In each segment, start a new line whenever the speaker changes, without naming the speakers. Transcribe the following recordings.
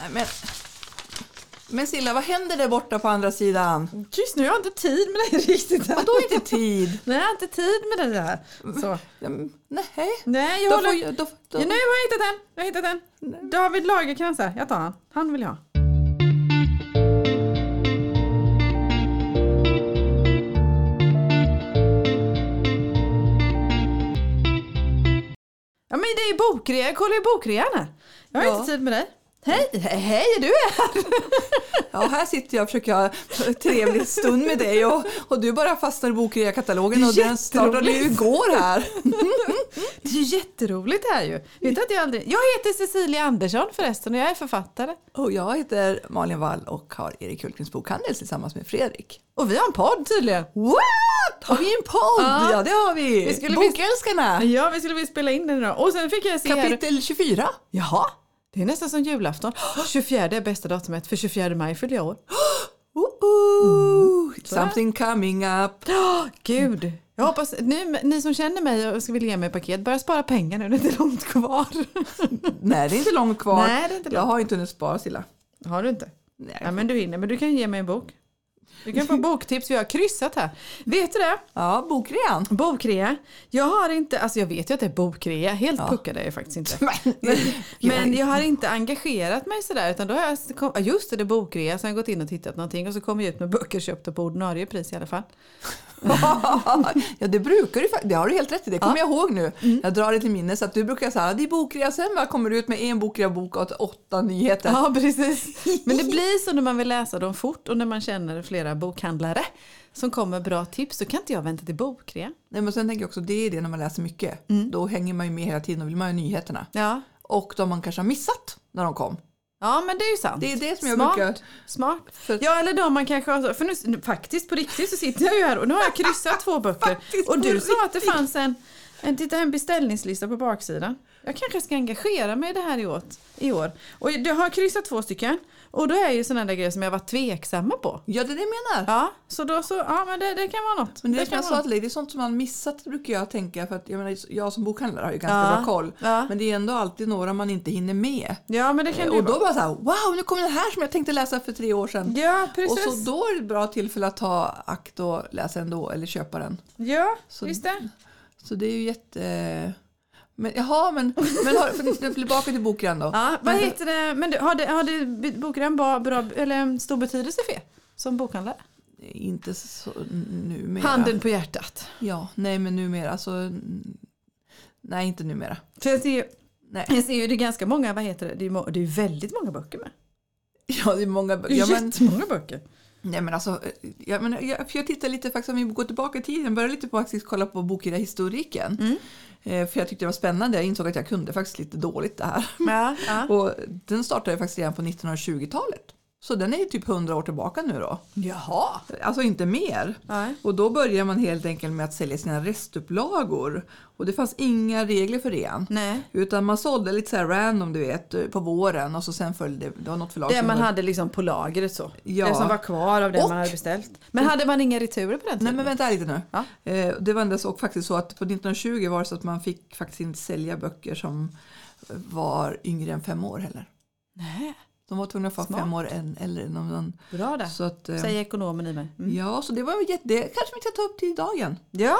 Nej, Men, men Silla, vad händer där borta på andra sidan?
Just nu har jag inte tid med dig riktigt. Här.
Vadå inte tid?
Nej, jag har inte tid med det där. Så.
Ja, men, Nej.
Nej, jag
Då
håller...
får, jag- då, då,
Ja, nu har jag hittat den! Jag har hittat den. David Lagercrantz här. Jag tar han. Han vill jag ha. Ja men det är ju bokrea. Kolla ju bokrean här. Jag har
Ja.
inte tid med dig. Hej! He- Hej, är du här?
Ja, här sitter jag och försöker ha en trevlig stund med dig och, och du bara fastnar i bokreakatalogen
Det är
och den startade ju
jätteroligt.
igår här.
Det är ju jätteroligt här ju. Vet du att jag aldrig... Jag heter Cecilia Andersson förresten och jag är författare.
Och jag heter Malin Wall och har Erik Hultgrens bokhandel tillsammans med Fredrik.
Och vi har en podd tydligen.
What? Har vi en podd?
Ja.
Ja, det har vi.
Vi skulle visst-
Bokälskarna,
Ja, vi skulle vilja spela in den idag. Och sen fick jag se här-
kapitel 24.
Jaha, det är nästan som julafton. 24 är bästa datumet för 24 maj fyller jag år.
Ooh, Mm. something coming up.
Åh, Gud! Jag hoppas, nu, ni som känner mig och ska vilja ge mig paket, börja spara pengar nu, det är inte långt kvar.
Nej, det är inte långt kvar.
Nej, det är inte långt.
Jag har inte hunnit spara Silla.
Har du inte?
Nej.
Ja, men du hinner, men du kan ge mig en bok. Du kan få boktips, vi har kryssat här. Vet du det?
Ja, bokrean.
Bokrea. Jag har inte, alltså jag vet ju att det är bokrea, helt puckad är jag faktiskt inte. Men, men jag har inte engagerat mig sådär utan då har jag, kom, ja, just det, det är bokrea, så har jag gått in och tittat någonting och så kommer jag ut med böcker köpta på ordinarie pris i alla fall.
ja, det brukar du fa- Det har du helt rätt i. Det kommer jag ihåg nu.
Mm.
Jag drar det till minnes att du brukar säga att det är bokrea. Sen va, kommer du ut med en bokrea-bok och åtta nyheter.
Ja, precis. Men det blir så när man vill läsa dem fort och när man känner flera bokhandlare som kommer med bra tips så kan inte jag vänta till bokrea.
Nej, men sen tänker jag också det är det när man läser mycket.
Mm.
Då hänger man ju med hela tiden och vill man ha nyheterna.
Ja.
Och de man kanske har missat när de kom.
Ja men det är ju sant.
Det är det som jag
Smart.
brukar-
Smart.
För-
Ja eller då man kanske har, för nu, nu faktiskt på riktigt så sitter jag ju här och nu har jag kryssat två böcker.
Faktiskt
Och
på
du sa att det fanns en, en, titta, en beställningslista på baksidan. Jag kanske ska engagera mig i det här i år. I år. Och jag har kryssat två stycken. Och då är ju sådana där grejer som jag var tveksamma på.
Ja, det är det jag menar.
Ja, så då så, ja men det, det kan vara något.
Men det, är som
kan
jag sa
vara något.
till dig, det är sånt som man missat brukar jag tänka. För att, jag, menar, jag som bokhandlare har ju ganska
Ja.
bra koll.
Ja.
Men det är ändå alltid några man inte hinner med.
Ja men det kan det ju
Och
vara.
då bara så här, wow, nu kommer den här som jag tänkte läsa för tre år sedan.
Ja precis.
Och så då är det ett bra tillfälle att ta akt och läsa ändå, eller köpa den.
ja,
Så-
visst det.
Så det är ju jätte... Men, jaha, men, men har, för, tillbaka till bokrean då.
Ja, vad
Men-
heter det? Men du, har, det, har det bokrean bra, bra, eller stor betydelse för er som bokhandlare?
Inte så numera.
Handen på hjärtat.
Ja, nej men numera så... mm, Nej, inte numera.
För jag ser ju,
Nej.
jag ser ju det är ganska många, vad heter det? Det är, ju må- det är ju väldigt många böcker med.
Ja, det är många böcker.
Ja,
Ja, men,
Jättemånga böcker.
nej, men alltså, jag, men, jag, för jag tittar lite, faktiskt, om vi går tillbaka i tiden, började lite på faktiskt kolla på bokhylla-historiken.
Mm.
Eh, För jag tyckte det var spännande. Jag insåg att jag kunde faktiskt lite dåligt det här.
Ja, ja.
Och den startade faktiskt redan på 1920-talet. Så den är ju typ 100 år tillbaka nu då.
Jaha.
Alltså inte mer.
Nej.
Och då började man helt enkelt med att sälja sina restupplagor. Och det fanns inga regler för det än.
Nej.
Utan man sålde lite så här random du vet på våren och så sen följde det var något förlag
Det
som
man
var-
hade liksom på lagret så.
Ja.
Det som var kvar av det
Och-
man hade beställt. Men hade man inga returer på den
Nej
tiden?
men vänta här lite nu.
Ja.
Eh, Det var ändå så, faktiskt så att på 1920 var det så att man fick faktiskt inte sälja böcker som eh, var yngre än fem år heller.
Nej.
De var tvungna att vara
Smart.
fem år än, eller någon, någon.
Bra där.
Så att, eh,
Säger ekonomen i mig. Mm.
Ja, så det var ju jätte... Det kanske vi ska ta upp till dagen.
Ja.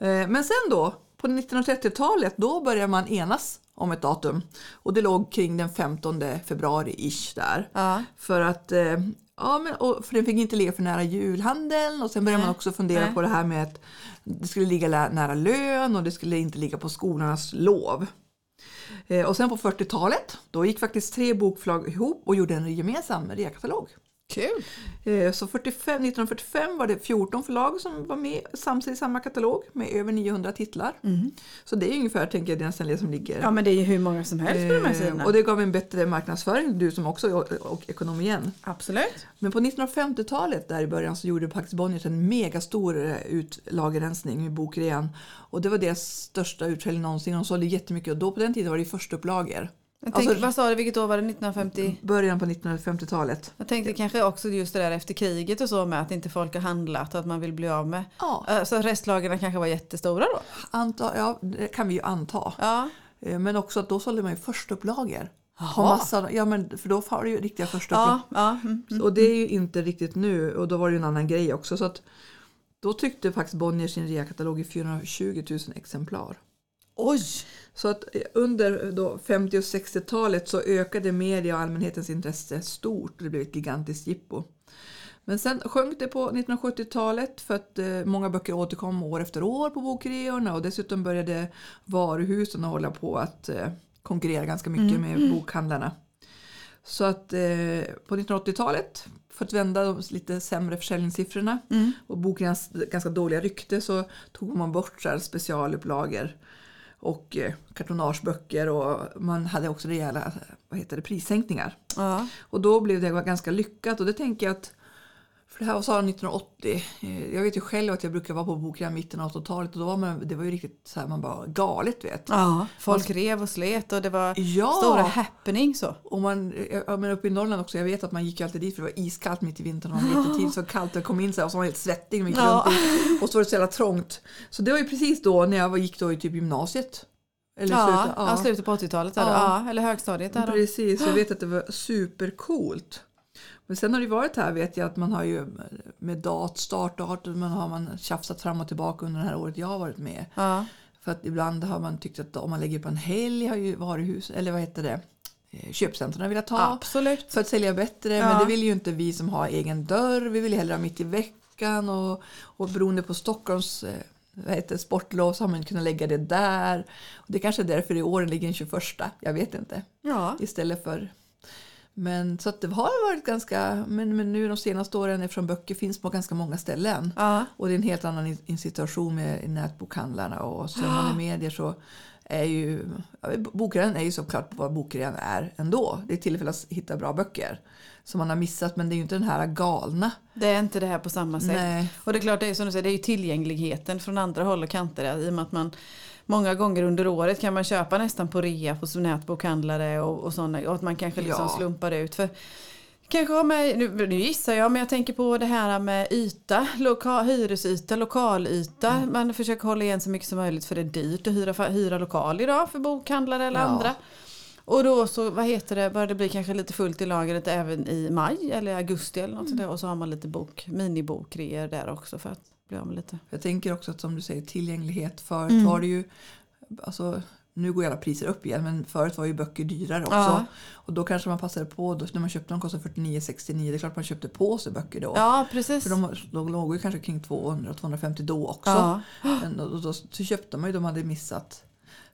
Eh, Men sen då, på 1930-talet, då började man enas om ett datum. Och det låg kring den 15 februari-ish där.
Ja.
För att, eh, ja men och, för den fick inte ligga för nära julhandeln och sen började man också fundera
Nej.
på det här med att det skulle ligga lä- nära lön och det skulle inte ligga på skolornas lov. Eh, och sen på 40-talet, då gick faktiskt tre bokförlag ihop och gjorde en gemensam reakatalog.
Kul.
Eh, Så 45, 1945 var det 14 förlag som var med samtidigt i samma katalog med över 900 titlar. Så det är ungefär tänker jag, den ställning som ligger.
Mm. Ja men det är ju hur många som helst på de här
Eh,
sidorna.
och det gav en bättre marknadsföring, du som också är o- och ekonom igen.
Absolut.
Men på 1950-talet där i början så gjorde Pax Bonnier en megastor eh, utlagerrensning med bokrean. Och det var deras största utförsäljning någonsin. De sålde jättemycket och då på den tiden var det förstupplagor.
Jag
Alltså-
tänker, vad sa du, vilket år var det? 1950?
Början på 1950-talet.
Jag tänkte kanske också just det där efter kriget och så med att inte folk har handlat och att man vill bli av med.
Ja.
Eh, Så restlagren kanske var jättestora då?
Anta, ja, det kan vi ju anta.
Ja.
Eh, Men också att då sålde man ju förstupplagor. Och massa, ja, men för då har du ju riktiga första
Ja, ja. Mm.
Så- Och det är ju inte riktigt nu och då var det ju en annan grej också. Så att, då tyckte faktiskt Bonnier sin reakatalog i 420 000 exemplar.
Oj!
Så att eh, under då 50 och 60-talet så ökade media och allmänhetens intresse stort och det blev ett gigantiskt jippo. Men sen sjönk det på 1970-talet för att eh, många böcker återkom år efter år på bokreorna och dessutom började varuhusen hålla på att eh, konkurrera ganska mycket med bokhandlarna. Så att eh, på 1980-talet, för att vända de lite sämre försäljningssiffrorna och bokens ganska dåliga rykte så tog man bort så här specialupplagor och eh, kartonageböcker och man hade också rejäla vad heter det, prissänkningar.
Ja.
Och då blev det ganska lyckat och det tänker jag att för det här var så här 1980. eh, Jag vet ju själv att jag brukar vara på bokrean mitten av 80-talet och då var man, det var ju riktigt så här man bara galet vet.
ja. Folk rev och slet och det var
Ja.
stora happening så.
Och man, jag menar uppe i Norrland också, jag vet att man gick ju alltid dit för det var iskallt mitt i vintern. Och man gick i tid så kallt och kom in så här, och så var man helt svettig med
Ja.
ja. och så var det så jävla trångt. Så det var ju precis då när jag var- gick då i typ gymnasiet. Eller
Ja,
slutet,
ja, slutet på 80-talet. där då.
Ja.
Ja, eller högstadiet. Där. då.
Precis, jag vet att det var supercoolt. Men sen har det ju varit här vet jag att man har ju med dat, startdat, man har man tjafsat fram och tillbaka under det här året jag har varit med.
Ja.
För att ibland har man tyckt att om man lägger på en helg har ju varuhus, eller vad heter det, Eh, köpcentren velat ha.
Absolut.
För att sälja bättre, men
Ja.
det vill ju inte vi som har egen dörr. Vi vill ju hellre ha mitt i veckan och, och beroende på Stockholms eh, vad heter, det, sportlov så har man inte kunnat lägga det där. Och det kanske är därför i år ligger den 21, jag vet inte
Ja.
istället för men så att det har varit ganska, men, men nu de senaste åren eftersom böcker finns på ganska många ställen
Ja.
och det är en helt annan in- in- situation med nätbokhandlarna och sociala medier så är ju ja, bokrean är ju såklart vad bokrean är ändå. Det är tillfälle att hitta bra böcker som man har missat men det är ju inte den här galna.
Det är inte det här på samma sätt.
Nej.
Och det är klart, det är, som du säger, det är ju tillgängligheten från andra håll och kanter. där, I och med att man många gånger under året kan man köpa nästan på rea hos nätbokhandlare och, och sådana. Och att man kanske liksom
Ja.
slumpar ut. För Kanske har med, nu, nu gissar jag, men jag tänker på det här med yta, loka, hyresyta, lokalyta. Man försöker hålla igen så mycket som möjligt för det är dyrt att hyra, hyra lokal idag för bokhandlare eller
Ja.
andra. Och då så, vad heter det, börjar det bli kanske lite fullt i lagret även i maj eller augusti eller något sånt där. Och så har man lite bok, minibokreor där också för att bli av med lite.
Jag tänker också att som du säger tillgänglighet. Förut
Mm.
var det ju, alltså, nu går ju alla priser upp igen, men förut var ju böcker dyrare också.
Ja.
Och då kanske man passade på, då, när man köpte dem kostade 49,69, det är klart man köpte på sig böcker då.
Ja, precis.
För de, de låg ju kanske kring 200-250 då också.
Ja.
Men då, då, så köpte man ju de man hade missat.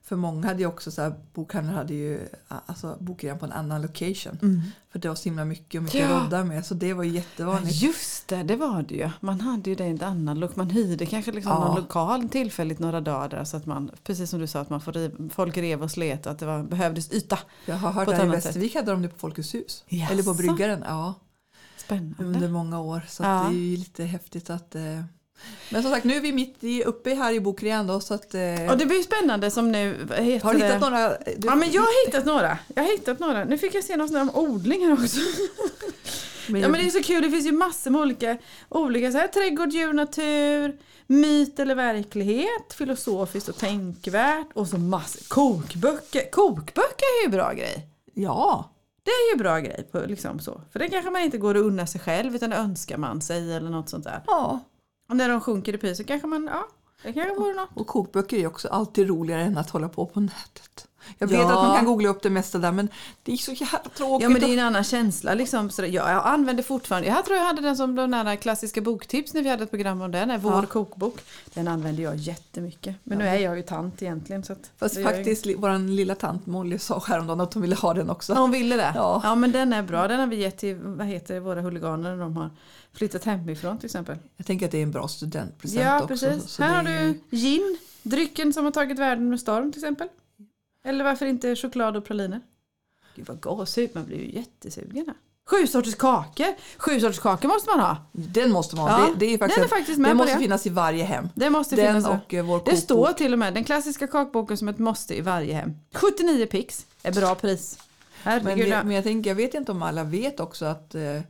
För många hade ju också så här, bokhandeln hade ju alltså, bokrean på en annan location. För det var så himla mycket och mycket
Mm. Ja.
roddar med. Så det var ju jättevanligt.
Just det, det var det ju. Man hade ju det i en annan lok. Man hyrde kanske liksom
Ja.
någon lokal tillfälligt några dagar där så att man, precis som du sa, att man får riv, folk rev och slet och att det var, behövdes yta.
Jag har hört
På ett
att i
annat sätt.
Västervik hade de det på Folkets hus.
Jaså?
Eller på Bryggaren. Ja,
Spännande.
under många år. Så
Ja.
att det är ju lite häftigt att... Eh... Men som sagt, nu är vi mitt i, uppe här i Bokrean då. Så att, eh...
Och det blir ju spännande som nu, vad heter
Har du
det?
hittat några? eh, Du...
Ja men jag har hittat några. Jag har hittat några. Nu fick jag se något om odling här också.
Men
Ja
jag-
men det är så kul, det finns ju massor med olika, olika så här, trädgård, djur, natur, myt eller verklighet, filosofiskt och tänkvärt och så massor, kokböcker. Kokböcker är ju en bra grej.
ja.
Det är ju en bra grej på, liksom så. För det kanske man inte går att unna sig själv utan det önskar man sig eller något sånt där.
ja.
Och när de sjunker i pris så kanske man, ja, det kanske vore något.
Och kokböcker är ju också alltid roligare än att hålla på på nätet. Jag vet
Ja.
att man kan googla upp det mesta där men det är så jävla tråkigt.
Ja men det är
att-
ju en annan känsla liksom. Så det- jag, jag använder fortfarande, jag tror jag hade den som de där klassiska boktips när vi hade ett program om den, här, vår
Ja.
kokbok. Den använder jag jättemycket. Men nu är jag ju tant egentligen så att
Fast
det gör ju-
faktiskt, li- vår lilla tant Molly sa häromdagen att hon ville ha den också.
Ja, hon ville det?
Ja.
ja men den är bra, den har vi gett till vad heter det, våra huliganer när de har flyttat hemifrån till exempel.
Jag tänker att det är en bra studentpresent
Ja
också.
precis,
så
här
det
har
är ju-
du gin, drycken som har tagit världen med storm till exempel. Eller varför inte choklad och praliner? Gud vad gåshud, man blir ju jättesugen här. Sju sorters kakor! Sju sorters kakor måste man ha!
Den måste man ha.
Ja,
Det, det är faktiskt,
den är
en-
faktiskt med
den
på
måste
det.
finnas i varje hem.
Det måste
Den
finnas.
och eh, vår
det
kokbok.
står till och med den klassiska kakboken som ett måste i varje hem. 79 pix är bra pris.
Men,
Herregud.
det, men jag, tänker, jag vet inte om alla vet också att eh,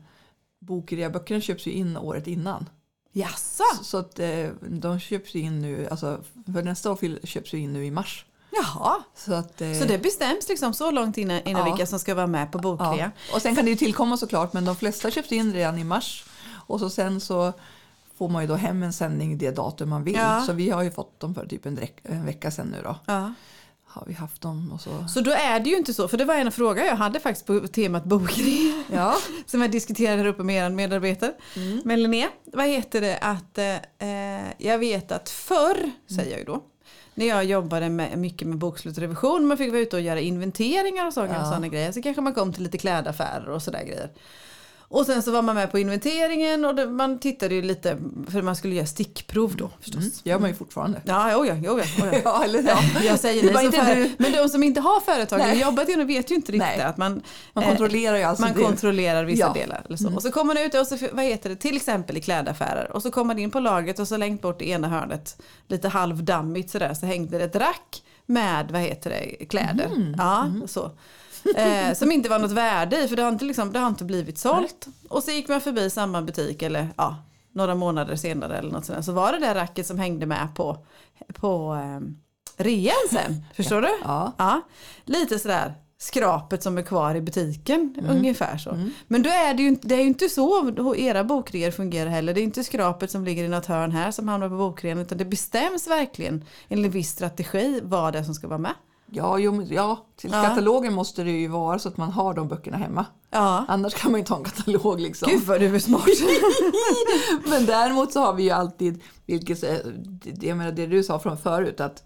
bokreaböckerna köps ju in året innan.
Jaså?
Så att eh, de köps ju in nu, alltså, för nästa år fyll- köps ju in nu i mars.
Jaha.
Så, att, eh,
Så det bestäms liksom så långt innan, innan
Ja.
vilka som ska vara med på
ja.
bokrea?
Och sen kan det ju tillkomma såklart, men de flesta köpte in redan i mars. Och så sen så får man ju då hem en sändning det datum man vill.
Ja.
Så vi har ju fått dem för typ en, dräck, en vecka sen nu då.
Ja.
Har vi haft dem och så.
Så då är det ju inte så, för det var en fråga jag hade faktiskt på temat bokrea.
Ja.
Som jag diskuterade här uppe med er medarbetare.
Mm.
Men Linnea, vad heter det att eh, eh, jag vet att förr, säger jag ju då, när jag jobbade med, mycket med bokslutsrevision, man fick vara ute och göra inventeringar och sådana,
Ja.
sådana grejer. Så kanske man kom till lite klädaffärer och sådär grejer. Och sen så var man med på inventeringen och det, man tittade ju lite, för man skulle göra stickprov då förstås.
gör man ju fortfarande.
Ja, jo, ja, jo, Mm. ja, jo, ja.
Ja, eller ja.
Jag säger
Det
det
var
som
inte
före-
du.
Men de som inte har företag och
Nej.
jobbat inom vet ju inte riktigt
Nej.
att man...
Man
eh,
kontrollerar ju alltså
man
det.
kontrollerar vissa
Ja. Mm.
delar. Eller så. Och så kommer man ut och så, vad heter det, till exempel i klädaffärer. Och så kom man in på lagret och så längt bort i ena hörnet, lite halvdammigt sådär, så hängde det ett rack med, vad heter det, kläder.
Mm.
Ja, så. Eh, som inte var något värde i för det har inte, liksom, det har inte blivit sålt. Och så gick man förbi samma butik eller ja, några månader senare eller något sånt där. Så var det där racket som hängde med på, på ehm, rean sen. Förstår du?
Ja.
Ja, lite sådär skrapet som är kvar i butiken ungefär så. Men då är det, ju, inte- det är ju inte så era bokreor fungerar heller. Det är inte skrapet som ligger i något hörn här som hamnar på bokrean utan det bestäms verkligen enligt en viss strategi vad det är som ska vara med.
Ja, jo, men- ja, till
Ja.
katalogen måste det ju vara så att man har de böckerna hemma.
Ja.
Annars kan man ju inte ha en katalog. Liksom.
Gud vad du är smart.
Men däremot så har vi ju alltid, vilket eh, det- jag menar det du sa från förut, att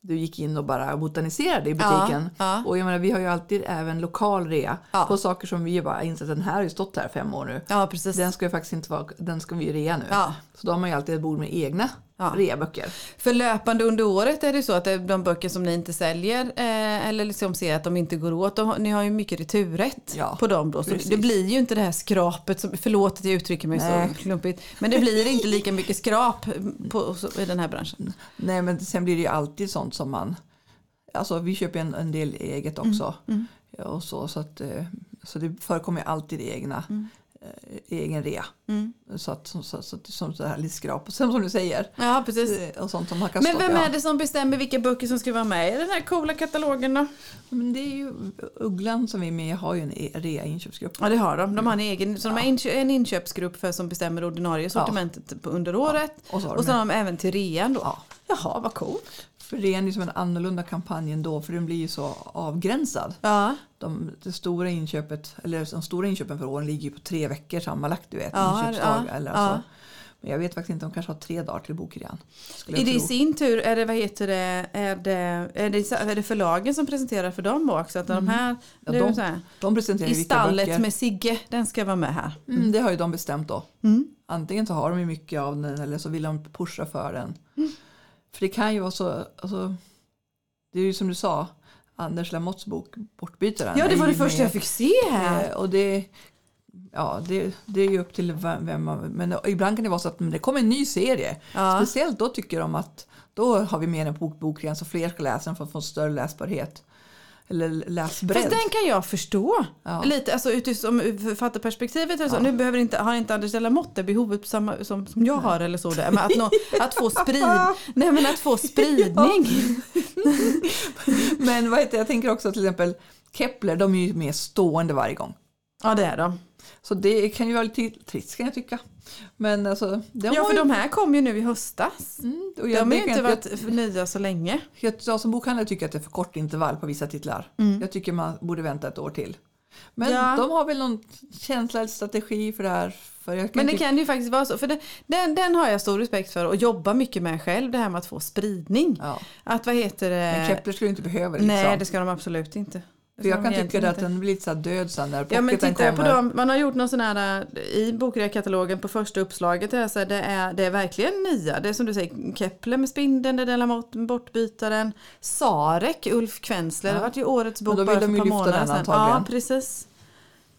du gick in och bara botaniserade i
Ja,
butiken.
ja.
Och jag menar, vi har ju alltid även lokal rea
Ja.
på saker som vi ju bara insett att den här har ju stått här fem år nu.
ja precis.
Den ska ju faktiskt inte vara, den ska vi ju rea nu.
Ja.
Så då har man ju alltid ett bord med egna
Ja.
reaböcker.
För löpande under året är det ju så att det är de böcker som ni inte säljer eh, eller liksom ser att de inte går åt, de, har- ni har ju mycket returrätt
Ja,
på dem då. Så
precis.
det blir ju inte det här skrapet, som, förlåt att jag uttrycker mig
Nej.
så klumpigt, men det blir inte lika mycket skrap på, så, i den här branschen.
Nej men sen blir det ju alltid sånt som man, alltså vi köper ju en, en del eget
Mm,
också. Ja, Och så, så, att, eh, så det förekommer ju alltid egna,
Mm.
eh, egen rea. Så att, så, så, så, att- som så här lite skrap. Och sen som du säger,
Ja, precis.
eh, och sånt som har kastat.
Men vem är
ja.
det som bestämmer vilka böcker som ska vara med i den här coola katalogen då?
Men det är ju Ugglan som vi är med i har ju en e- rea-inköpsgrupp.
Ja det har de. De har en egen, så de har inköp, en inköpsgrupp för, som bestämmer ordinarie sortimentet på- under året.
Och så har
Och så
de,
har de även till rean då.
Ja.
Jaha vad coolt.
för det är ju som en annorlunda kampanj ändå för den blir ju så avgränsad.
Ja.
De, det stora inköpet, eller de stora inköpen för åren ligger ju på tre veckor sammanlagt. Du vet,
Ja,
inköpsdagar
ja,
eller
ja.
så. Men jag vet faktiskt inte, de kanske har tre dagar till bokrean. skulle
Är
jag
det i
tro.
sin tur, är det, vad heter det, är det, är det, är det förlagen som presenterar för dem också? Att de här,
Mm. Ja,
nu
de-
så här
De presenterar
i
ju vilka
stallet
böcker.
med Sigge, den ska vara med här.
Mm, det har ju de bestämt då.
Mm.
Antingen så har de ju mycket av den eller så vill de pusha för den.
Mm.
För det kan ju vara så, alltså, det är ju som du sa, Anders Lamotts bok Bortbytaren.
Ja, det
är
var
ju
det första jag
med-
fick se här.
Eh, Och det, ja, det, det är ju upp till vem vem man... Men ibland kan det vara så att men det kommer en ny serie.
Ja.
Speciellt då tycker de att då har vi med den på bok- bokrean så fler ska läsa den för att få en större läsbarhet. Eller läsbredd.
Fast den kan jag förstå.
Ja.
Lite alltså, utifrån författarperspektivet. Eller så. Nu behöver inte, har inte Anders de la Motte behovet på samma, som, som jag har eller så. Där. Men att, nå, att, få sprid, nej, men att få spridning.
Men vad heter, jag tänker också till exempel Kepler, de är ju med stående varje gång.
Ja, det är de.
Så det kan ju vara lite trist kan jag tycka. Men alltså, de
Ja,
har
för
ju...
de här kom ju nu i höstas.
Mm, och
De
jag,
har
det
ju
kan
inte
jag
varit nya så länge.
Jag, jag som bokhandlare tycker att det är för kort intervall på vissa titlar. Jag tycker man borde vänta ett år till. Men
Mm. Ja.
de har väl någon känsla eller strategi för det här. För jag kan
Men det
tycka-
kan ju faktiskt vara så. För det, den, den har jag stor respekt för och jobbar mycket med själv. Det här med att få spridning.
ja.
Att vad heter det?
Men Kepler skulle ju inte behöva det.
Nej,
liksom.
det ska de absolut inte. Det
för jag
ska de
kan tycka
egentligen
det att
inte.
den blir lite så här död sen när
Ja men
pocketen
tittar jag på
kommer.
dem, man har gjort någon sån här äh, i bokreakatalogen på första uppslaget är så här, det, är, det är verkligen nya. Det är som du säger Kepler med spindeln, det är Delamotte med bortbytaren, Sarek, Ulf Kvensler, det
Ja.
vart ju årets
Men
bok
då
bara
vill
för
de
ett
ju
par
lyfta
månader
den
sedan. Ja
antagligen.
precis.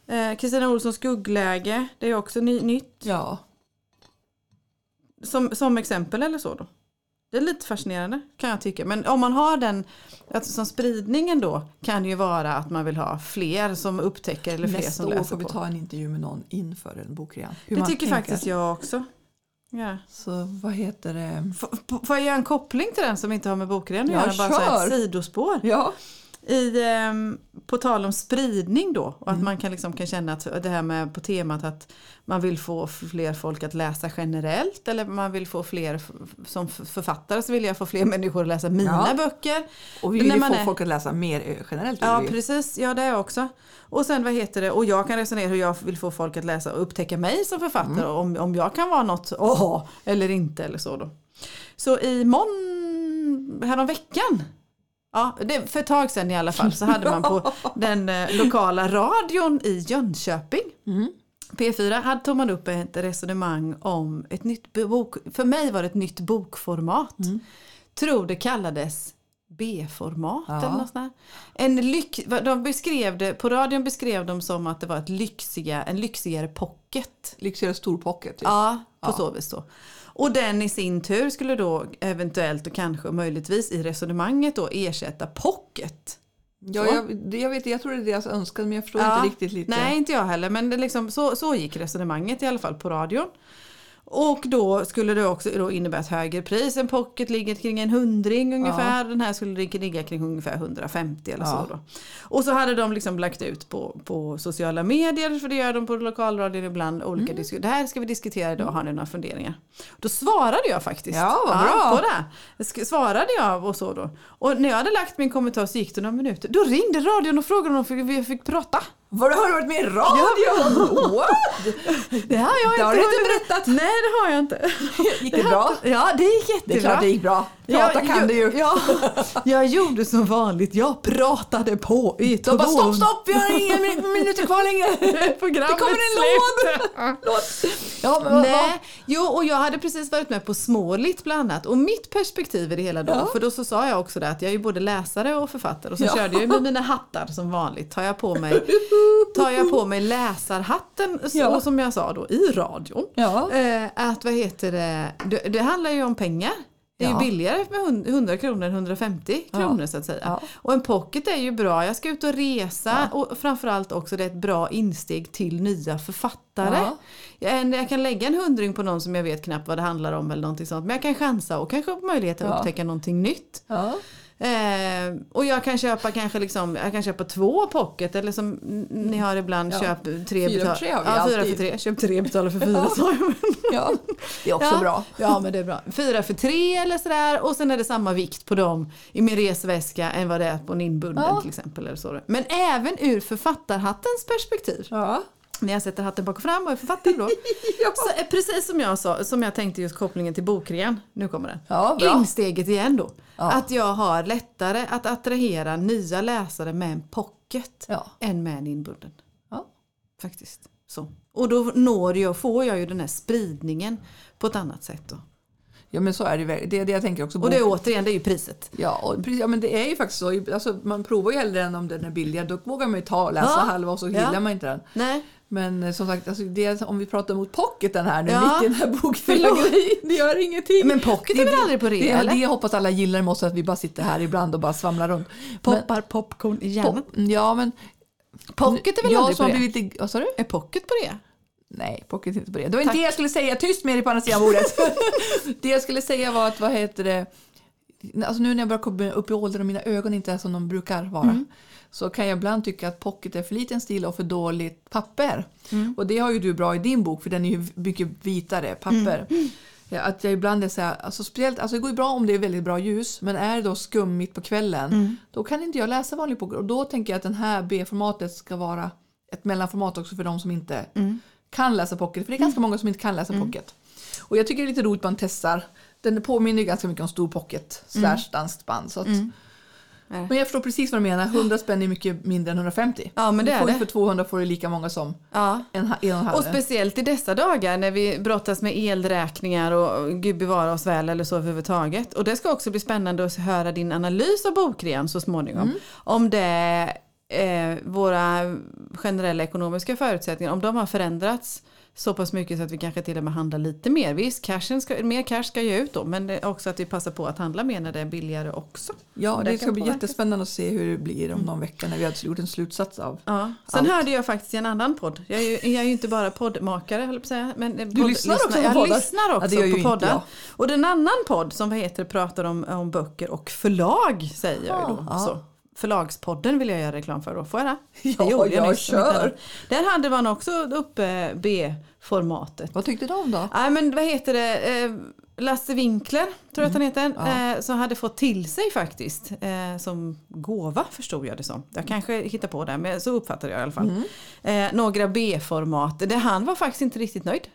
Eh, Kristina Olssons skuggläge, det är ju också ny, nytt.
Ja.
Som, som exempel eller så då. Det är lite fascinerande kan jag tycka. Men om man har den alltså, som spridningen då kan det ju vara att man vill ha fler som upptäcker eller fler
Nästa
som
år
läser
får vi
på.
ta en intervju med någon inför en bokrean. Hur
Det
man
tycker
tänker.
faktiskt jag också. Ja.
Så vad heter det?
F- f- Får jag göra en koppling till den som inte har med bokrean att
Ja,
göra? Bara så här ett
kör.
sidospår.
Ja.
I, ehm, på tal om spridning då och att man kan, liksom, kan känna att det här med på temat att man vill få fler folk att läsa generellt eller man vill få fler f- som f- författare så vill jag få fler människor att läsa mina
Ja.
böcker.
Och vi vill ju
man
få
är-
folk att läsa mer eh, generellt.
Ja
vill vi ju.
precis, ja det är jag också. Och sen vad heter det, och jag kan resonera hur jag vill få folk att läsa och upptäcka mig som författare
Mm.
om, om jag kan vara något, åh, eller inte eller så då. Så i mån... häromveckan, ja det, för ett tag sedan i alla fall, så hade man på den eh, lokala radion i Jönköping P4 hade tog man upp ett resonemang om ett nytt bok. För mig var det ett nytt bokformat. Tror det kallades B-format
Ja.
eller något sånt där. en lyx, vad de beskrev det, På radion beskrev de som att det var ett lyxiga, en lyxigare pocket.
Lyxigare storpocket. Typ.
Ja, på så vis då. Och den i sin tur skulle då eventuellt och kanske och möjligtvis i resonemanget då ersätta pocket.
Ja,
Så.
jag, det- jag, vet, jag tror det är deras önskan men jag förstår
Ja.
inte riktigt lite.
Nej, inte jag heller. Men det liksom, så, så gick resonemanget i alla fall på radion. Och då skulle det också då innebära ett högre pris. En pocket ligger kring en hundring ungefär. Den här skulle ligga- ligga kring ungefär 150 eller så. Då. Och så hade de liksom lagt ut på, på sociala medier, för det gör de på lokalradion ibland. Olika disku- det här ska vi diskutera idag, har ni några funderingar? Då svarade jag faktiskt.
Ja, vad bra.
på det. Sk- Svarade jag och så då. Och när jag hade lagt min kommentar så gick det några minuter. Då ringde radion och frågade om de fick, vi fick prata.
Var, har du varit med i radion? What?
Det har jag
Det har
inte.
du inte
hunnit- Nej, det har jag inte.
Gick det bra?
Ja, det gick jättebra.
Det är klart det gick bra. Prata
jag,
kan
jag,
du ju.
Ja, jag gjorde som vanligt. Jag pratade på i
De bara stopp,
200
stopp, vi har inga min- minuter kvar längre.
Programmet
Det kommer en
slut.
Ja, men vad- vad-
Nej, jo och jag hade precis varit med på Småligt bland annat och mitt perspektiv i det hela då,
Ja.
för då så sa jag också det att jag är ju både läsare och författare och så
Ja.
körde jag ju med mina hattar som vanligt. Tar jag på mig, tar jag på mig läsarhatten så,
Ja.
och som jag sa då i radion.
Ja.
Eh, att vad heter det, det, det handlar ju om pengar. Det är
Ja.
ju billigare med hund- 100 kronor än 150 kronor så att säga.
Ja.
Och en pocket är ju bra, jag ska ut och resa och framförallt också det är ett bra insteg till nya författare.
Ja.
Jag, jag kan lägga en hundring på någon som jag vet knappt vad det handlar om eller någonting sånt. Men jag kan chansa och kanske få möjlighet att
Ja.
upptäcka någonting nytt.
Ja.
Eh, och jag kan köpa kanske liksom, jag kan köpa två pocket eller som n- ni har ibland
Ja.
köp
Fyra
tre
för
betala-
tre har vi
ja, fyra
alltid.
för tre. Köp tre betala för fyra sa jag.
ja, det är också
ja.
bra.
Ja men det är bra. Fyra för tre eller sådär och sen är det samma vikt på dem i min resväska än vad det är på en inbunden
Ja.
till exempel. Eller så. Men även ur författarhattens perspektiv.
Ja.
När jag sätter hatten bak och fram och är författare då.
Ja.
Så, eh, precis som jag sa, som jag tänkte just kopplingen till bokrean. Nu kommer den.
Ja, bra.
Insteget igen då. Att jag har lättare att attrahera nya läsare med en pocket
Ja.
än med en inbunden.
Ja.
Faktiskt. Så. Och då når jag, får jag ju den här spridningen på ett annat sätt då.
ja, men så är det ju. Det är det jag tänker också.
Och det är återigen, det är ju priset.
Ja, och precis, ja, men det är ju faktiskt så. Alltså, man provar ju hellre den om den är billigare. Då vågar man ju ta och läsa
Ja.
halva och så gillar
Ja.
man inte den.
Nej.
Men eh, som sagt, alltså, det, om vi pratar mot pocketen här nu,
Ja.
mitt i den här bokfyllagrejen, det gör ingenting.
Men pocket är väl aldrig på rea,
det,
eller?
det jag hoppas alla gillar med oss, att vi bara sitter här ibland och bara svamlar runt. Men-
popcorn i
pop- ja, men...
Pocket är väl
jag
aldrig
som
på
har
rea?
blivit lite, vad sa du?
Är pocket på det?
Nej, pocket är inte på det. Det var inte det jag skulle säga. Tyst med dig på andra sidan bordet. det jag skulle säga var att, vad heter det? Alltså nu när jag börjar komma upp i åldern och mina ögon inte är som de brukar vara så kan jag ibland tycka att pocket är för liten stil och för dåligt papper. Och det har ju du bra i din bok för den är ju mycket vitare papper. Ja, att jag ibland är så här, alltså speciellt, alltså det går ju bra om det är väldigt bra ljus men är det då skummigt på kvällen då kan inte jag läsa vanlig bok. Och då tänker jag att den här B-formatet ska vara ett mellanformat också för de som inte kan läsa pocket. För det är ganska många som inte kan läsa pocket. Och jag tycker det är lite roligt man testar. Den påminner ju ganska mycket om stor pocket slash danskt band. Så att, Men jag förstår precis vad du menar. 100 spänn är mycket mindre än 150.
Ja, men
Du
det är
får ju
det.
För 200 får du lika många som
Ja.
en, ha- en och en halv.
Och speciellt i dessa dagar när vi brottas med elräkningar och gud bevara oss väl eller så överhuvudtaget. Och det ska också bli spännande att höra din analys av bokrean så småningom. Om det eh, våra generella ekonomiska förutsättningar, om de har förändrats så pass mycket så att vi kanske till och med handlar lite mer. Visst, cashen ska, mer cash ska ju ut då, men det är också att vi passar på att handla mer när det är billigare också.
Ja, det,
kan
ska bli
påverka.
jättespännande att se hur det blir om någon vecka när vi har gjort en slutsats av.
Ja. Sen hörde jag faktiskt i en annan podd. Jag är ju, jag är ju inte bara poddmakare, höll jag på att säga. Men eh,
Du lyssnar också på
jag
poddar?
lyssnar
Ja, det
också
gör ju
på
inte
poddar.
jag.
Och den annan podd som vad heter pratar om, om böcker och förlag säger jag ju då.
Ja.
Så. Förlagspodden vill jag göra reklam för då. Får jag det?
Ja,
Det gjorde
jag
nyss, som inte
kör.
annat. Där hade man också uppe B-formatet.
Vad tyckte de då?
Nej men vad heter det? Eh, Lasse Winkler tror jag att han heter. Eh, som hade fått till sig faktiskt. Eh, som gåva förstod jag det som. Jag kanske hittar på det men så uppfattade jag i alla fall. Eh, några B-format. Där han var faktiskt inte riktigt nöjd.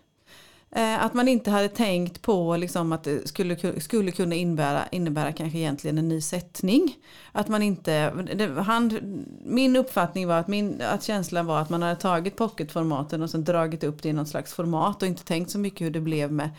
Eh, att man inte hade tänkt på liksom, att det skulle, ku- skulle kunna innebära, innebära kanske egentligen en ny sättning. Att man inte, det, han, min uppfattning var att, min, att känslan var att man hade tagit pocketformaten och sen dragit upp det i någon slags format och inte tänkt så mycket hur det blev med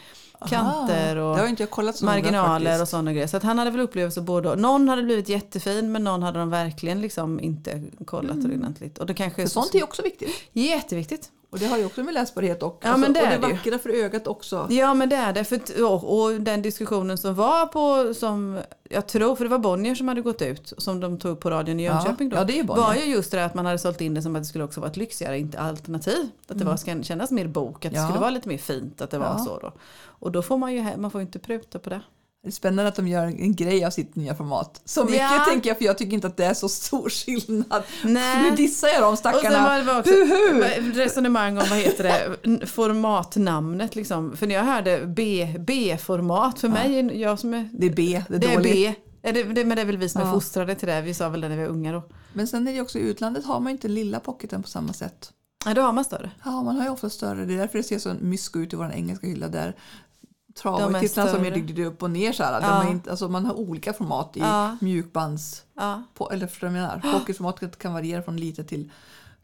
kanter
Ah,
och
det har inte jag kollat så noga
marginaler och
faktiskt.
sådana grejer. Så att han hade väl upplevelser både och. Någon hade blivit jättefin men någon hade de verkligen liksom inte kollat ordentligt. Och det kanske är
Mm. För
så,
sånt är ju också viktigt.
jätteviktigt.
Och det har ju också med läsbarhet och, alltså,
Ja, men det
och det
är det ju.
vackra för ögat också.
Ja men det är det. För, t- och, och den diskussionen som var på, som jag tror, för det var Bonnier som hade gått ut, som de tog upp på radion i
Ja.
Jönköping då.
Ja, det är ju Bonnier.
var ju just det där att man hade sålt in det som att det skulle också vara ett lyxigare inte alternativ. Att det var, ska kännas mer bok, att det
Mm. Ja.
skulle vara lite mer fint att det var
Ja.
så då. Och då får man ju, he- man får ju inte pruta på det.
Det är spännande att de gör en grej av sitt nya format. Så mycket
Ja.
tänker jag för jag tycker inte att det är så stor skillnad.
Nej.
Nu dissar jag de
Och sen var
stackarna.
det var också var resonemang om vad heter det, n- formatnamnet liksom. För när jag hörde B- B-format, för mig, jag som är
Det är B, det är
Det är
dåligt.
B. Ja, det, det, men det är väl vi som är
Ja.
fostrade till det. Vi sa väl det när vi var unga då.
Men sen är det ju också i utlandet har man ju inte lilla pocketen på samma sätt.
Ja, då har man större.
Ja, man har ju ofta större. Det är därför det ser så mysko ut i vår engelska hylla där
De är
travtitlarna som är
större.
dykt upp och ner så här.
Ja.
De är inte, alltså man har olika format i
Ja.
mjukbands...
Ja,
På, eller förstår du vad jag menar? Pocketformatet kan variera från litet till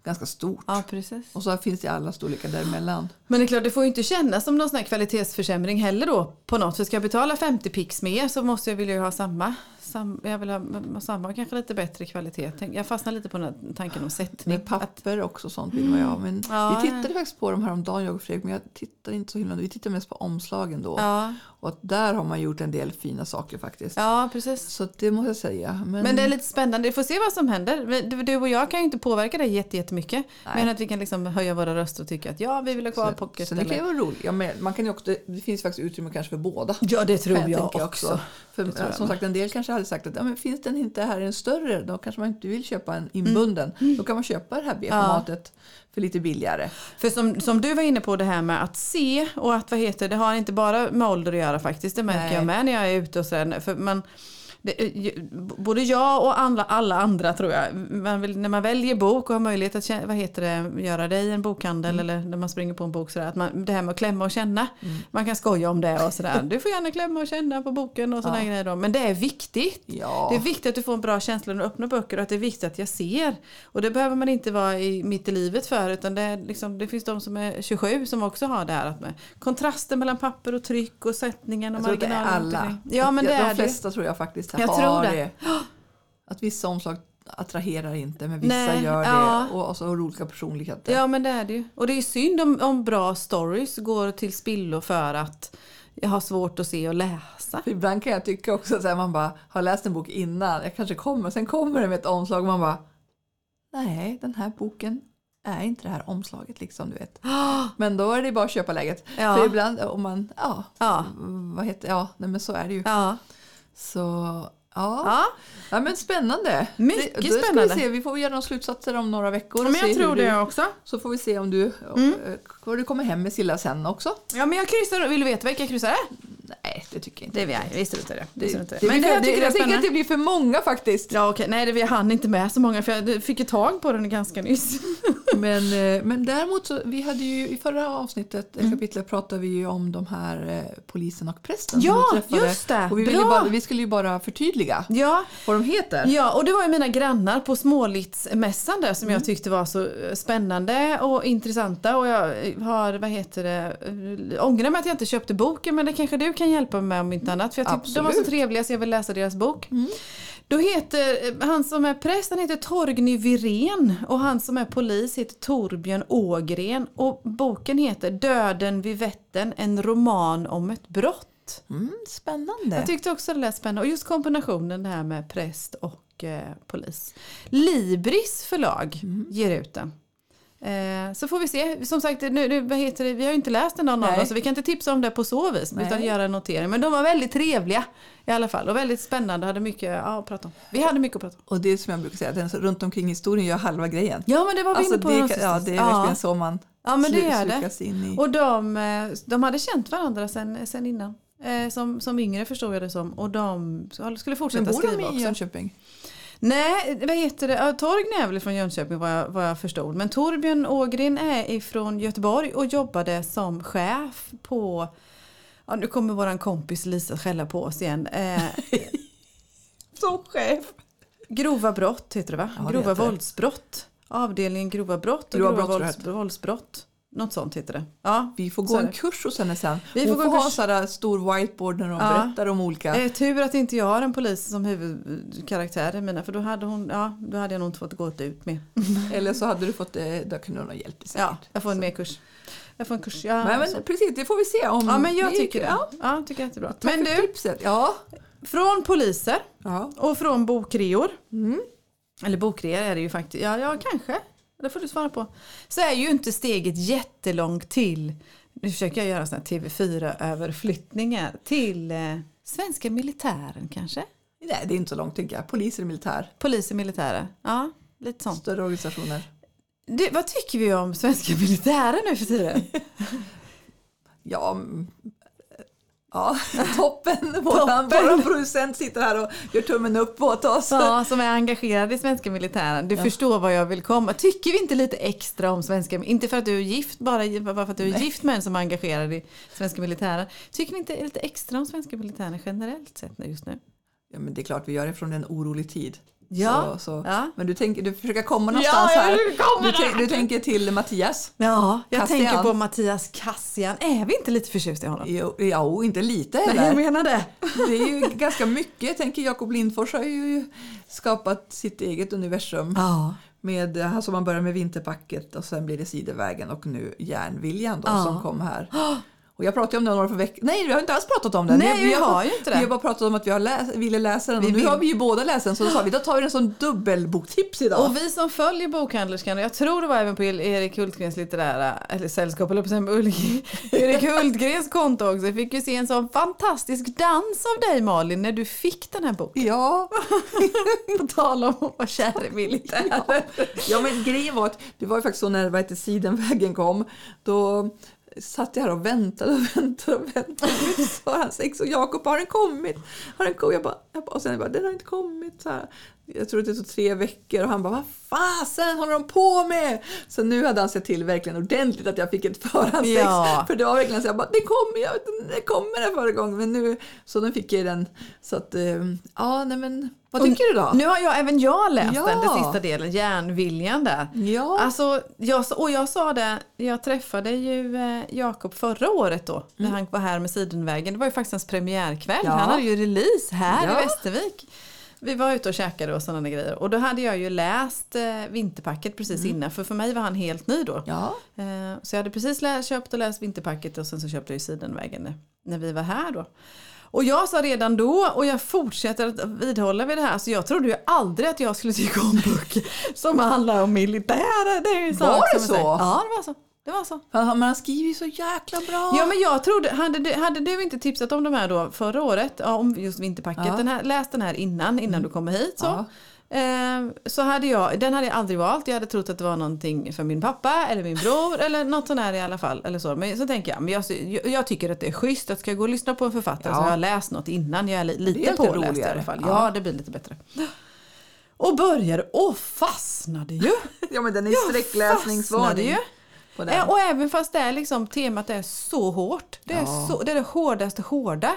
ganska stort.
ja precis.
Och så finns det i alla storlekar däremellan.
Men det är klart, det får ju inte kännas som någon sån här kvalitetsförsämring heller då på något. För ska jag betala 50 pix mer så måste jag vilja ha samma. Sam, jag vill ha m- samma och kanske lite bättre kvalitet. Tänk- Jag fastnar lite på den här tanken om sättning.
Med papper också och sånt vill man ju ha. Men
Mm. Ja,
vi tittade faktiskt på dem häromdagen jag och Fredrik. Men jag tittar inte så himla Vi tittar mest på omslagen då.
Ja,
Och att där har man gjort en del fina saker faktiskt.
ja precis.
Så det måste jag säga. Men,
Men det är lite spännande. Vi får se vad som händer. Men du- Du och jag kan ju inte påverka det jätte- jättemycket.
Nej.
Men att vi kan liksom höja våra röster och tycka att ja, vi vill ha kvar
sen,
pocket.
sen det kan
eller-
ju vara roligt. Ja, men man kan ju också, det, det finns faktiskt utrymme kanske för båda.
Ja, det tror
kan
jag,
tänka
också.
För,
tror jag
som sagt, en del kanske hade sagt att ja, men finns den inte här i en större då kanske man inte vill köpa en inbunden.
Mm.
Då kan man köpa det här B-formatet för lite billigare.
För som, som du var inne på det här med att se och att vad heter det, det har inte bara med ålder att göra faktiskt. Det märker
Nej.
jag med när jag är ute och sådär. För man, det, eh, ju- både jag och alla, alla andra tror jag, man vill, när man väljer bok och har möjlighet att kä- vad heter det, göra det i en bokhandel eller när man springer på en bok sådär, att man, det här med att klämma och känna. Man kan skoja om det och sådär. Du får gärna klämma och känna på boken och sådana grejer. Då. Men det är viktigt.
Ja.
Det är viktigt att du får en bra känsla när du öppnar böcker och att det är viktigt att jag ser. Och det behöver man inte vara i, mitt i livet för utan det, är liksom, det finns de som är 27 som också har det här. Att med, kontrasten mellan papper och tryck och sättningen och
Jag tror det är
marginalen. runt
alla.
omkring. Ja men det
de
är det.
flesta tror jag faktiskt
Jag
har
tror det.
det. Att vissa omslag attraherar inte men vissa
Nej,
gör det.
ja.
Och, och så har olika personligheter.
Ja men det är det ju. Och det är ju synd om, om bra stories går till spillo för att jag har svårt att se och läsa.
För Ibland kan jag tycka också att man bara har läst en bok innan. Jag kanske kommer. Sen kommer det med ett omslag och man bara Nej, den här boken är inte det här omslaget liksom du vet. Men då är det bara att köpa läget.
Ja.
För ibland om man, ja,
Ja.
mm, vad heter ja, nej men så är det ju.
Ja.
Så ja. ja.
ja.
men spännande.
Mycket
det, då ska
spännande.
Vi, se. vi får göra några slutsatser om några veckor.
Men
och se
jag tror
hur du,
det Mm. också.
Så får vi se om du, eh, vad du kommer hem med Silla sen också.
Ja men jag kryssar. Vill du veta vilka jag kryssade?
Nej, det tycker jag inte.
Det vill jag. Vi struntar i det. Vi struntar i
det,
det. Men
blir-
det, jag tycker det är
jag tänker att
spännande.
det blir för många faktiskt.
Ja, okej. Nej, det, jag hann inte med så många för jag fick ju tag på den ganska nyss.
Men, eh, men däremot så, vi hade ju i förra avsnittet, mm. kapitlet, pratade vi ju om de här eh, polisen och prästen
Ja,
som du träffade.
just det.
Och vi, ville
Bra.
bara, vi skulle ju bara förtydliga
Ja,
vad de heter.
ja, och det var ju mina grannar på Smålittsmässan där som jag tyckte var så eh, spännande och intressanta och jag eh, har, vad heter det, eh, ångrar mig att jag inte köpte boken men det kanske du kan hjälpa mig med om inte annat för jag tyckte de var så
Absolut.
trevliga så jag vill läsa deras bok. Då heter eh, han som är präst han heter Torgny Virén och han som är polis heter Torbjörn Ågren och boken heter Döden vid Vättern, en roman om ett brott.
Mm, spännande.
Jag tyckte också det lät spännande och just kombinationen det här med präst och eh, polis. Libris förlag ger ut den. Eh, Så får vi se. Som sagt, nu, nu, vad heter det? vi har ju inte läst den någon av
Nej.
dem så vi kan inte tipsa om det på så vis.
Nej.
Utan göra en notering. Men de var väldigt trevliga i alla fall och väldigt spännande. Hade mycket ja, att prata om. Vi hade mycket att prata om.
Och det är som jag brukar säga, den som runt omkring historien gör halva grejen.
Ja men det var vi
Alltså
inne på.
det,
någonstans.
kan- ja, det är verkligen så man
Ja, men det
slu-
är det.
slukas in i.
Och de, eh, de hade känt varandra sen, sen innan. Eh, Som, som yngre förstod jag det som. Och de skulle
Men
fortsätta
bor
skriva
de
också.
i Jönköping?
Nej, vad heter det? Ja, Torgny är väl från Jönköping vad jag, vad jag förstod. Men Torbjörn Ågren är ifrån Göteborg och jobbade som chef på... Ja, nu kommer våran kompis Lisa skälla på oss igen. Eh,
Som chef.
grova brott heter det va?
Ja, det
grova
heter det.
våldsbrott. Avdelningen grova brott och
Grova
grova,
brott,
vålds, våldsbrott. Något sånt heter det. Ja.
Vi får
Så
gå
är
en
det.
kurs hos henne sen.
Vi
Vi får
får
Hon
gå
får
en
ha
kurs.
en sån där stor whiteboard när hon
Ja.
berättar om olika.
Eh, tur att inte jag har en polis som huvudkaraktär i mina för då hade, hon, ja, då hade jag nog inte fått gå ut med.
Eller så hade du fått, eh, då kunde hon ha hjälpt dig säkert.
Ja, jag får en mer kurs. Jag får en kurs. Ja,
Nej, men precis, det får vi se om.
Ja, men jag
det-
tycker Mm. det.
Ja,
Ja, jag tycker jättebra.
tack
men
för
du,
tipset. Ja.
från poliser
ja.
och från bokreor.
Mm.
Eller bokreor är det ju faktiskt. Ja, ja kanske. Det får du svara på. Så är ju inte steget jättelångt till, nu försöker jag göra en sån här TV4-överflyttningar, till eh, svenska militären kanske?
Nej, det är inte så långt tänker jag. Poliser och militär.
Poliser, militärer. Ja, lite sånt.
Större organisationer.
Du, vad tycker vi om svenska militären nu för tiden?
Ja, mm, ja toppen. Våran, våran producent sitter här och gör tummen upp åt oss.
Ja, som är engagerad i svenska militären. Du förstår vad jag vill komma. Tycker vi inte lite extra om svenska, inte för att du är gift, bara, bara för att du är gift med en som är engagerad i svenska militären. Tycker vi inte lite extra om svenska militären generellt sett nu- just nu?
Ja, men det är klart, vi gör det från en orolig tid.
Ja.
Så, så.
Ja.
Men du, tänker, du försöker komma någonstans
jag
här.
försöker komma
du, tänk- du tänker till Mattias.
Ja, jag
Cassian.
tänker på Mattias Cassian. Är vi inte lite förtjusta i honom?
Jo, ja, och inte lite
Nej, jag
heller.
menar det.
Det är ju ganska mycket. Jag tänker Jakob Lindfors har ju skapat sitt eget universum.
Ja.
Med, alltså man börjar med Vinterpacket och sen blir det Sidevägen och nu Järnviljan då,
Ja.
som kom här. Och jag pratade om den några för veckor Nej, vi har inte alls pratat om den.
Nej, vi har
bara-
ju inte det.
Vi har bara pratat om att vi har läs, ville läsa den.
Vi
och nu
vill.
har vi ju båda läst den så då sa vi då tar vi den som dubbelboktips idag.
Och vi som följer bokhandlerskan, och jag tror det var även på Erik Hultgrens litterära eller sällskap, eller på sen, Ulrik- Erik Hultgrens konto också, jag fick ju se en sån fantastisk dans av dig Malin när du fick den här boken.
Ja,
På tal om att vara kär i militären.
ja, men grejen var att det var ju faktiskt så när vad heter, Sidenvägen kom. Då satt jag här och väntade och väntade och väntade. Nu sa han sex och Jakob, har den kommit? Har den kommit? Jag bara, jag bara, och sen jag bara, den har inte kommit. Så här. Jag tror att det tog tre veckor och han bara, vad fasen håller de på med? Så nu hade han sett till verkligen ordentligt att jag fick ett förhandsex.
Ja.
För det var verkligen så jag bara, det kommer, jag, det kommer den förra gången. Men nu, så nu fick jag ju den. Så att, eh, ja, nej men, vad tycker du då?
Nu har jag, även jag läst
Ja.
den, den sista delen, Järnviljan där.
Ja.
Alltså, jag, sa- och jag sa det, jag träffade ju eh, Jakob förra året då när han var här med Sidenvägen. Det var ju faktiskt hans premiärkväll.
Mm. Ja.
Han hade ju release här
Ja.
i Västervik. Vi var ute och käkade och sådana grejer. Och då hade jag ju läst eh, Vinterpacket precis
Mm.
innan för för mig var han helt ny då.
Ja.
Eh, Så jag hade precis lä- köpt och läst Vinterpacket och sen så köpte jag ju Sidenvägen när- när vi var här då. Och jag sa redan då och jag fortsätter att vidhålla vid det här. Så jag trodde ju aldrig att jag skulle tycka om böcker som handlar om militärer. Det är ju en sak
Var det
som
så?
jag säger. Ja det var så. Det var så.
Ja, men han skriver ju så jäkla bra.
Ja men jag trodde, hade du, hade du inte tipsat om de här då förra året, ja, Mm. om just Vinterpacket,
Ja.
den här, läs den här innan, innan du kommer hit så.
Ja.
Eh, Så hade jag, den hade jag aldrig valt, jag hade trott att det var någonting för min pappa eller min bror eller något sånt här i alla fall. Eller så. Men så tänker jag, men jag, jag- jag tycker att det är schysst att ska jag gå och lyssna på en författare
Ja.
så har jag läst något innan, jag är li,
Det är
lite
lite
påläst i
roligare.
alla fall.
Ja.
Ja. det blir lite bättre. Och började och fastnade ju.
Ja, men den är
fastnade
sträckläsningsvarning.
ju.
på
Eh,
den.
Och även fast det är liksom, temat är så hårt. Det är,
Ja.
så, det, är det hårdaste hårda.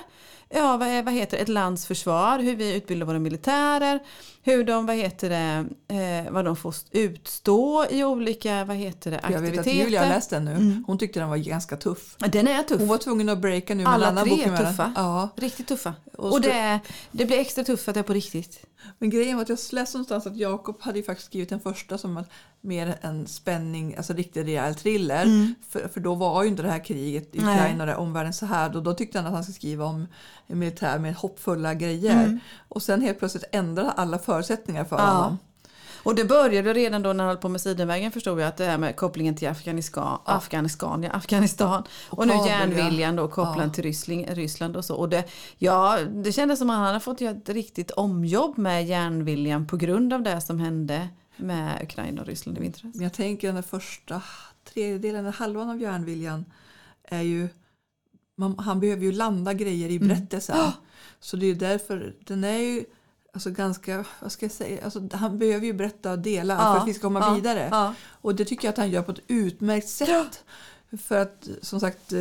Eh, ja, vad, är- vad heter det, ett lands försvar, hur vi utbildar våra militärer, hur de, vad heter det, eh, vad de får utstå i olika, vad heter det,
Jag vet att
aktiviteter.
Julia har läst den nu. Hon tyckte den var ganska tuff.
Den är tuff.
Hon var tvungen att breaka nu med
Alla
en annan
tre
bok
är
med den.
tuffa.
Ja.
Riktigt tuffa.
Och
Och,
spe-
det, är- det blir extra tufft för att det är på riktigt.
Men grejen var att jag läste någonstans att Jakob hade ju faktiskt skrivit den första som att mer en spänning, alltså riktig rejäl thriller. För, för då var ju inte det här kriget i
Nej.
Ukraina och det här omvärlden så här. Då, då tyckte han att han skulle skriva om en militär med hoppfulla grejer. Och sen helt plötsligt ändrade alla förutsättningar för honom.
Och det började redan då när han höll på med Sidenvägen förstod jag att det här med kopplingen till Afghanistan, Afghanistan, ja, Afghanistan. Och nu
Kabul, ja.
järnviljan då kopplad till Ryssling, Ryssland och så. Och det, ja, det kändes som att han hade fått göra ett riktigt omjobb med järnviljan på grund av det som hände med Ukraina och Ryssland i vintras.
Men jag tänker den där första tredjedelen, den halvan av järnviljan är ju man, han behöver ju landa grejer
Mm.
i berättelsen. Så det är ju därför den är ju alltså ganska, vad ska jag säga, alltså, han behöver ju berätta delar
Ja,
för att vi ska komma
ja,
vidare.
ja.
Och det tycker jag att han gör på ett utmärkt sätt. För att som sagt eh,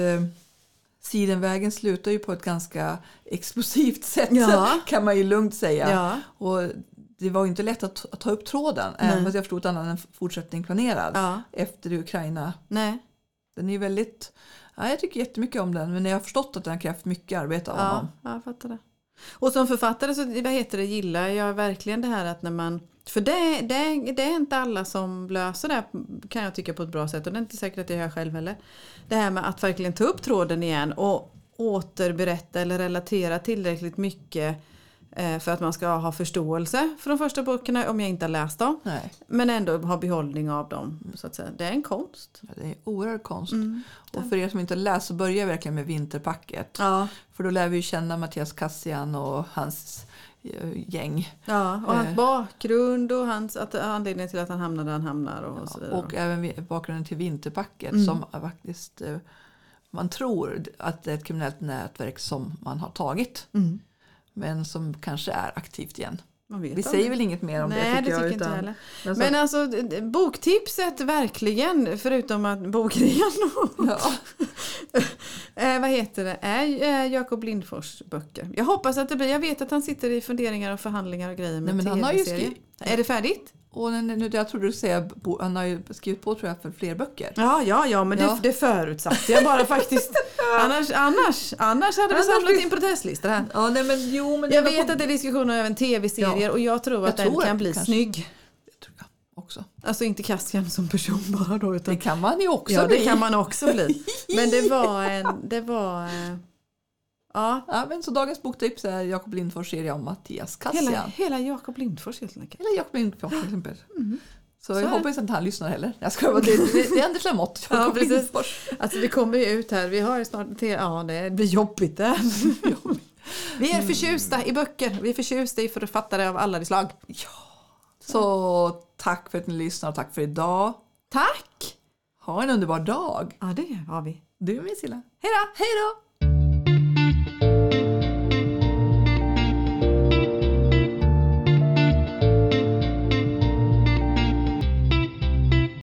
Sidenvägen slutar ju på ett ganska explosivt sätt
Ja.
kan man ju lugnt säga.
Ja.
Och det var ju inte lätt att, att ta upp tråden även fast jag förstod att han hade en fortsättning planerad
Ja.
efter Ukraina.
Nej.
Den är ju väldigt, ja, jag tycker jättemycket om den men jag har förstått att den har krävt mycket arbete av honom.
Ja, ja, jag fattar det. Och som författare så vad heter det, gillar jag verkligen det här att när man... För det, det, det är inte alla som löser det här, kan jag tycka på ett bra sätt och det är inte säkert att jag gör själv heller. Det här med att verkligen ta upp tråden igen och återberätta eller relatera tillräckligt mycket eh, för att man ska ha förståelse för de första böckerna om jag inte har läst dem.
Nej,
Men ändå ha behållning av dem. Så att säga. Det är en konst.
ja, det är oerhörd konst.
Mm.
Och för er som inte har läst så börjar jag verkligen med Vinterpacket.
Ja,
För då lär vi ju känna Mattias Kassian och hans eh, gäng.
ja. och hans bakgrund och hans, att, anledningen till att han hamnar där han hamnar och, så vidare. Mm.
Och även vi- bakgrunden till Vinterpacket som är faktiskt eh, man tror att det är ett kriminellt nätverk som man har tagit.
Mm.
Men som kanske är aktivt igen.
Man vet
Vi
aldrig.
säger väl inget mer om det
Nej, det tycker
jag.
inte jag heller.
men så-
Men alltså d- d- boktipset verkligen, förutom att bokrean
Ja.
eh, vad heter det, är ju, eh, Jakob Lindfors böcker. Jag hoppas att det blir, jag vet att han sitter i funderingar och förhandlingar och grejer med
Nej, men han har ju
TV-serier.
skrivit-
Är det färdigt?
Och nu- nu, jag trodde du skulle säga, bo- han har ju skrivit på tror jag för fler böcker.
Ja, ja, ja, men
Ja.
Det, det förutsatte jag bara faktiskt. Annars, annars, annars hade vi
Annars
samlat
blir-
in protestlistor här.
Ja, nej, men, jo, men
Jag
det var
vet
på-
att det är diskussioner även tv-serier
Ja.
och jag tror att
Jag tror
den kan
att-
bli
kanske.
snygg.
det tror jag också.
Alltså inte Kassian som person bara då utan
Det kan man ju också
ja,
bli.
det kan man också bli. Men det var en... Det var, eh, ja,
Ja, men så dagens boktips är Jakob Lindfors serie om Mattias Kassian.
hela, hela Jakob Lindfors helt enkelt.
Eller Jakob Lindfors till exempel.
Mm.
Så,
är
jag
det.
hoppas inte han lyssnar heller. Jag ska vara det, det, det är Anders Lamotte.
Ja,
Jakob
precis.
Lindfors.
Alltså det kommer ju ut här. Vi har ju snart... Te- ja, det blir jobbigt det. Vi är förtjusta i böcker. Vi är förtjusta i författare av alla de slag.
Så tack för att ni lyssnar och tack för idag.
Tack!
Ha en underbar dag.
Ja, det har vi.
Du med Silla.
Hej då!
Hej då!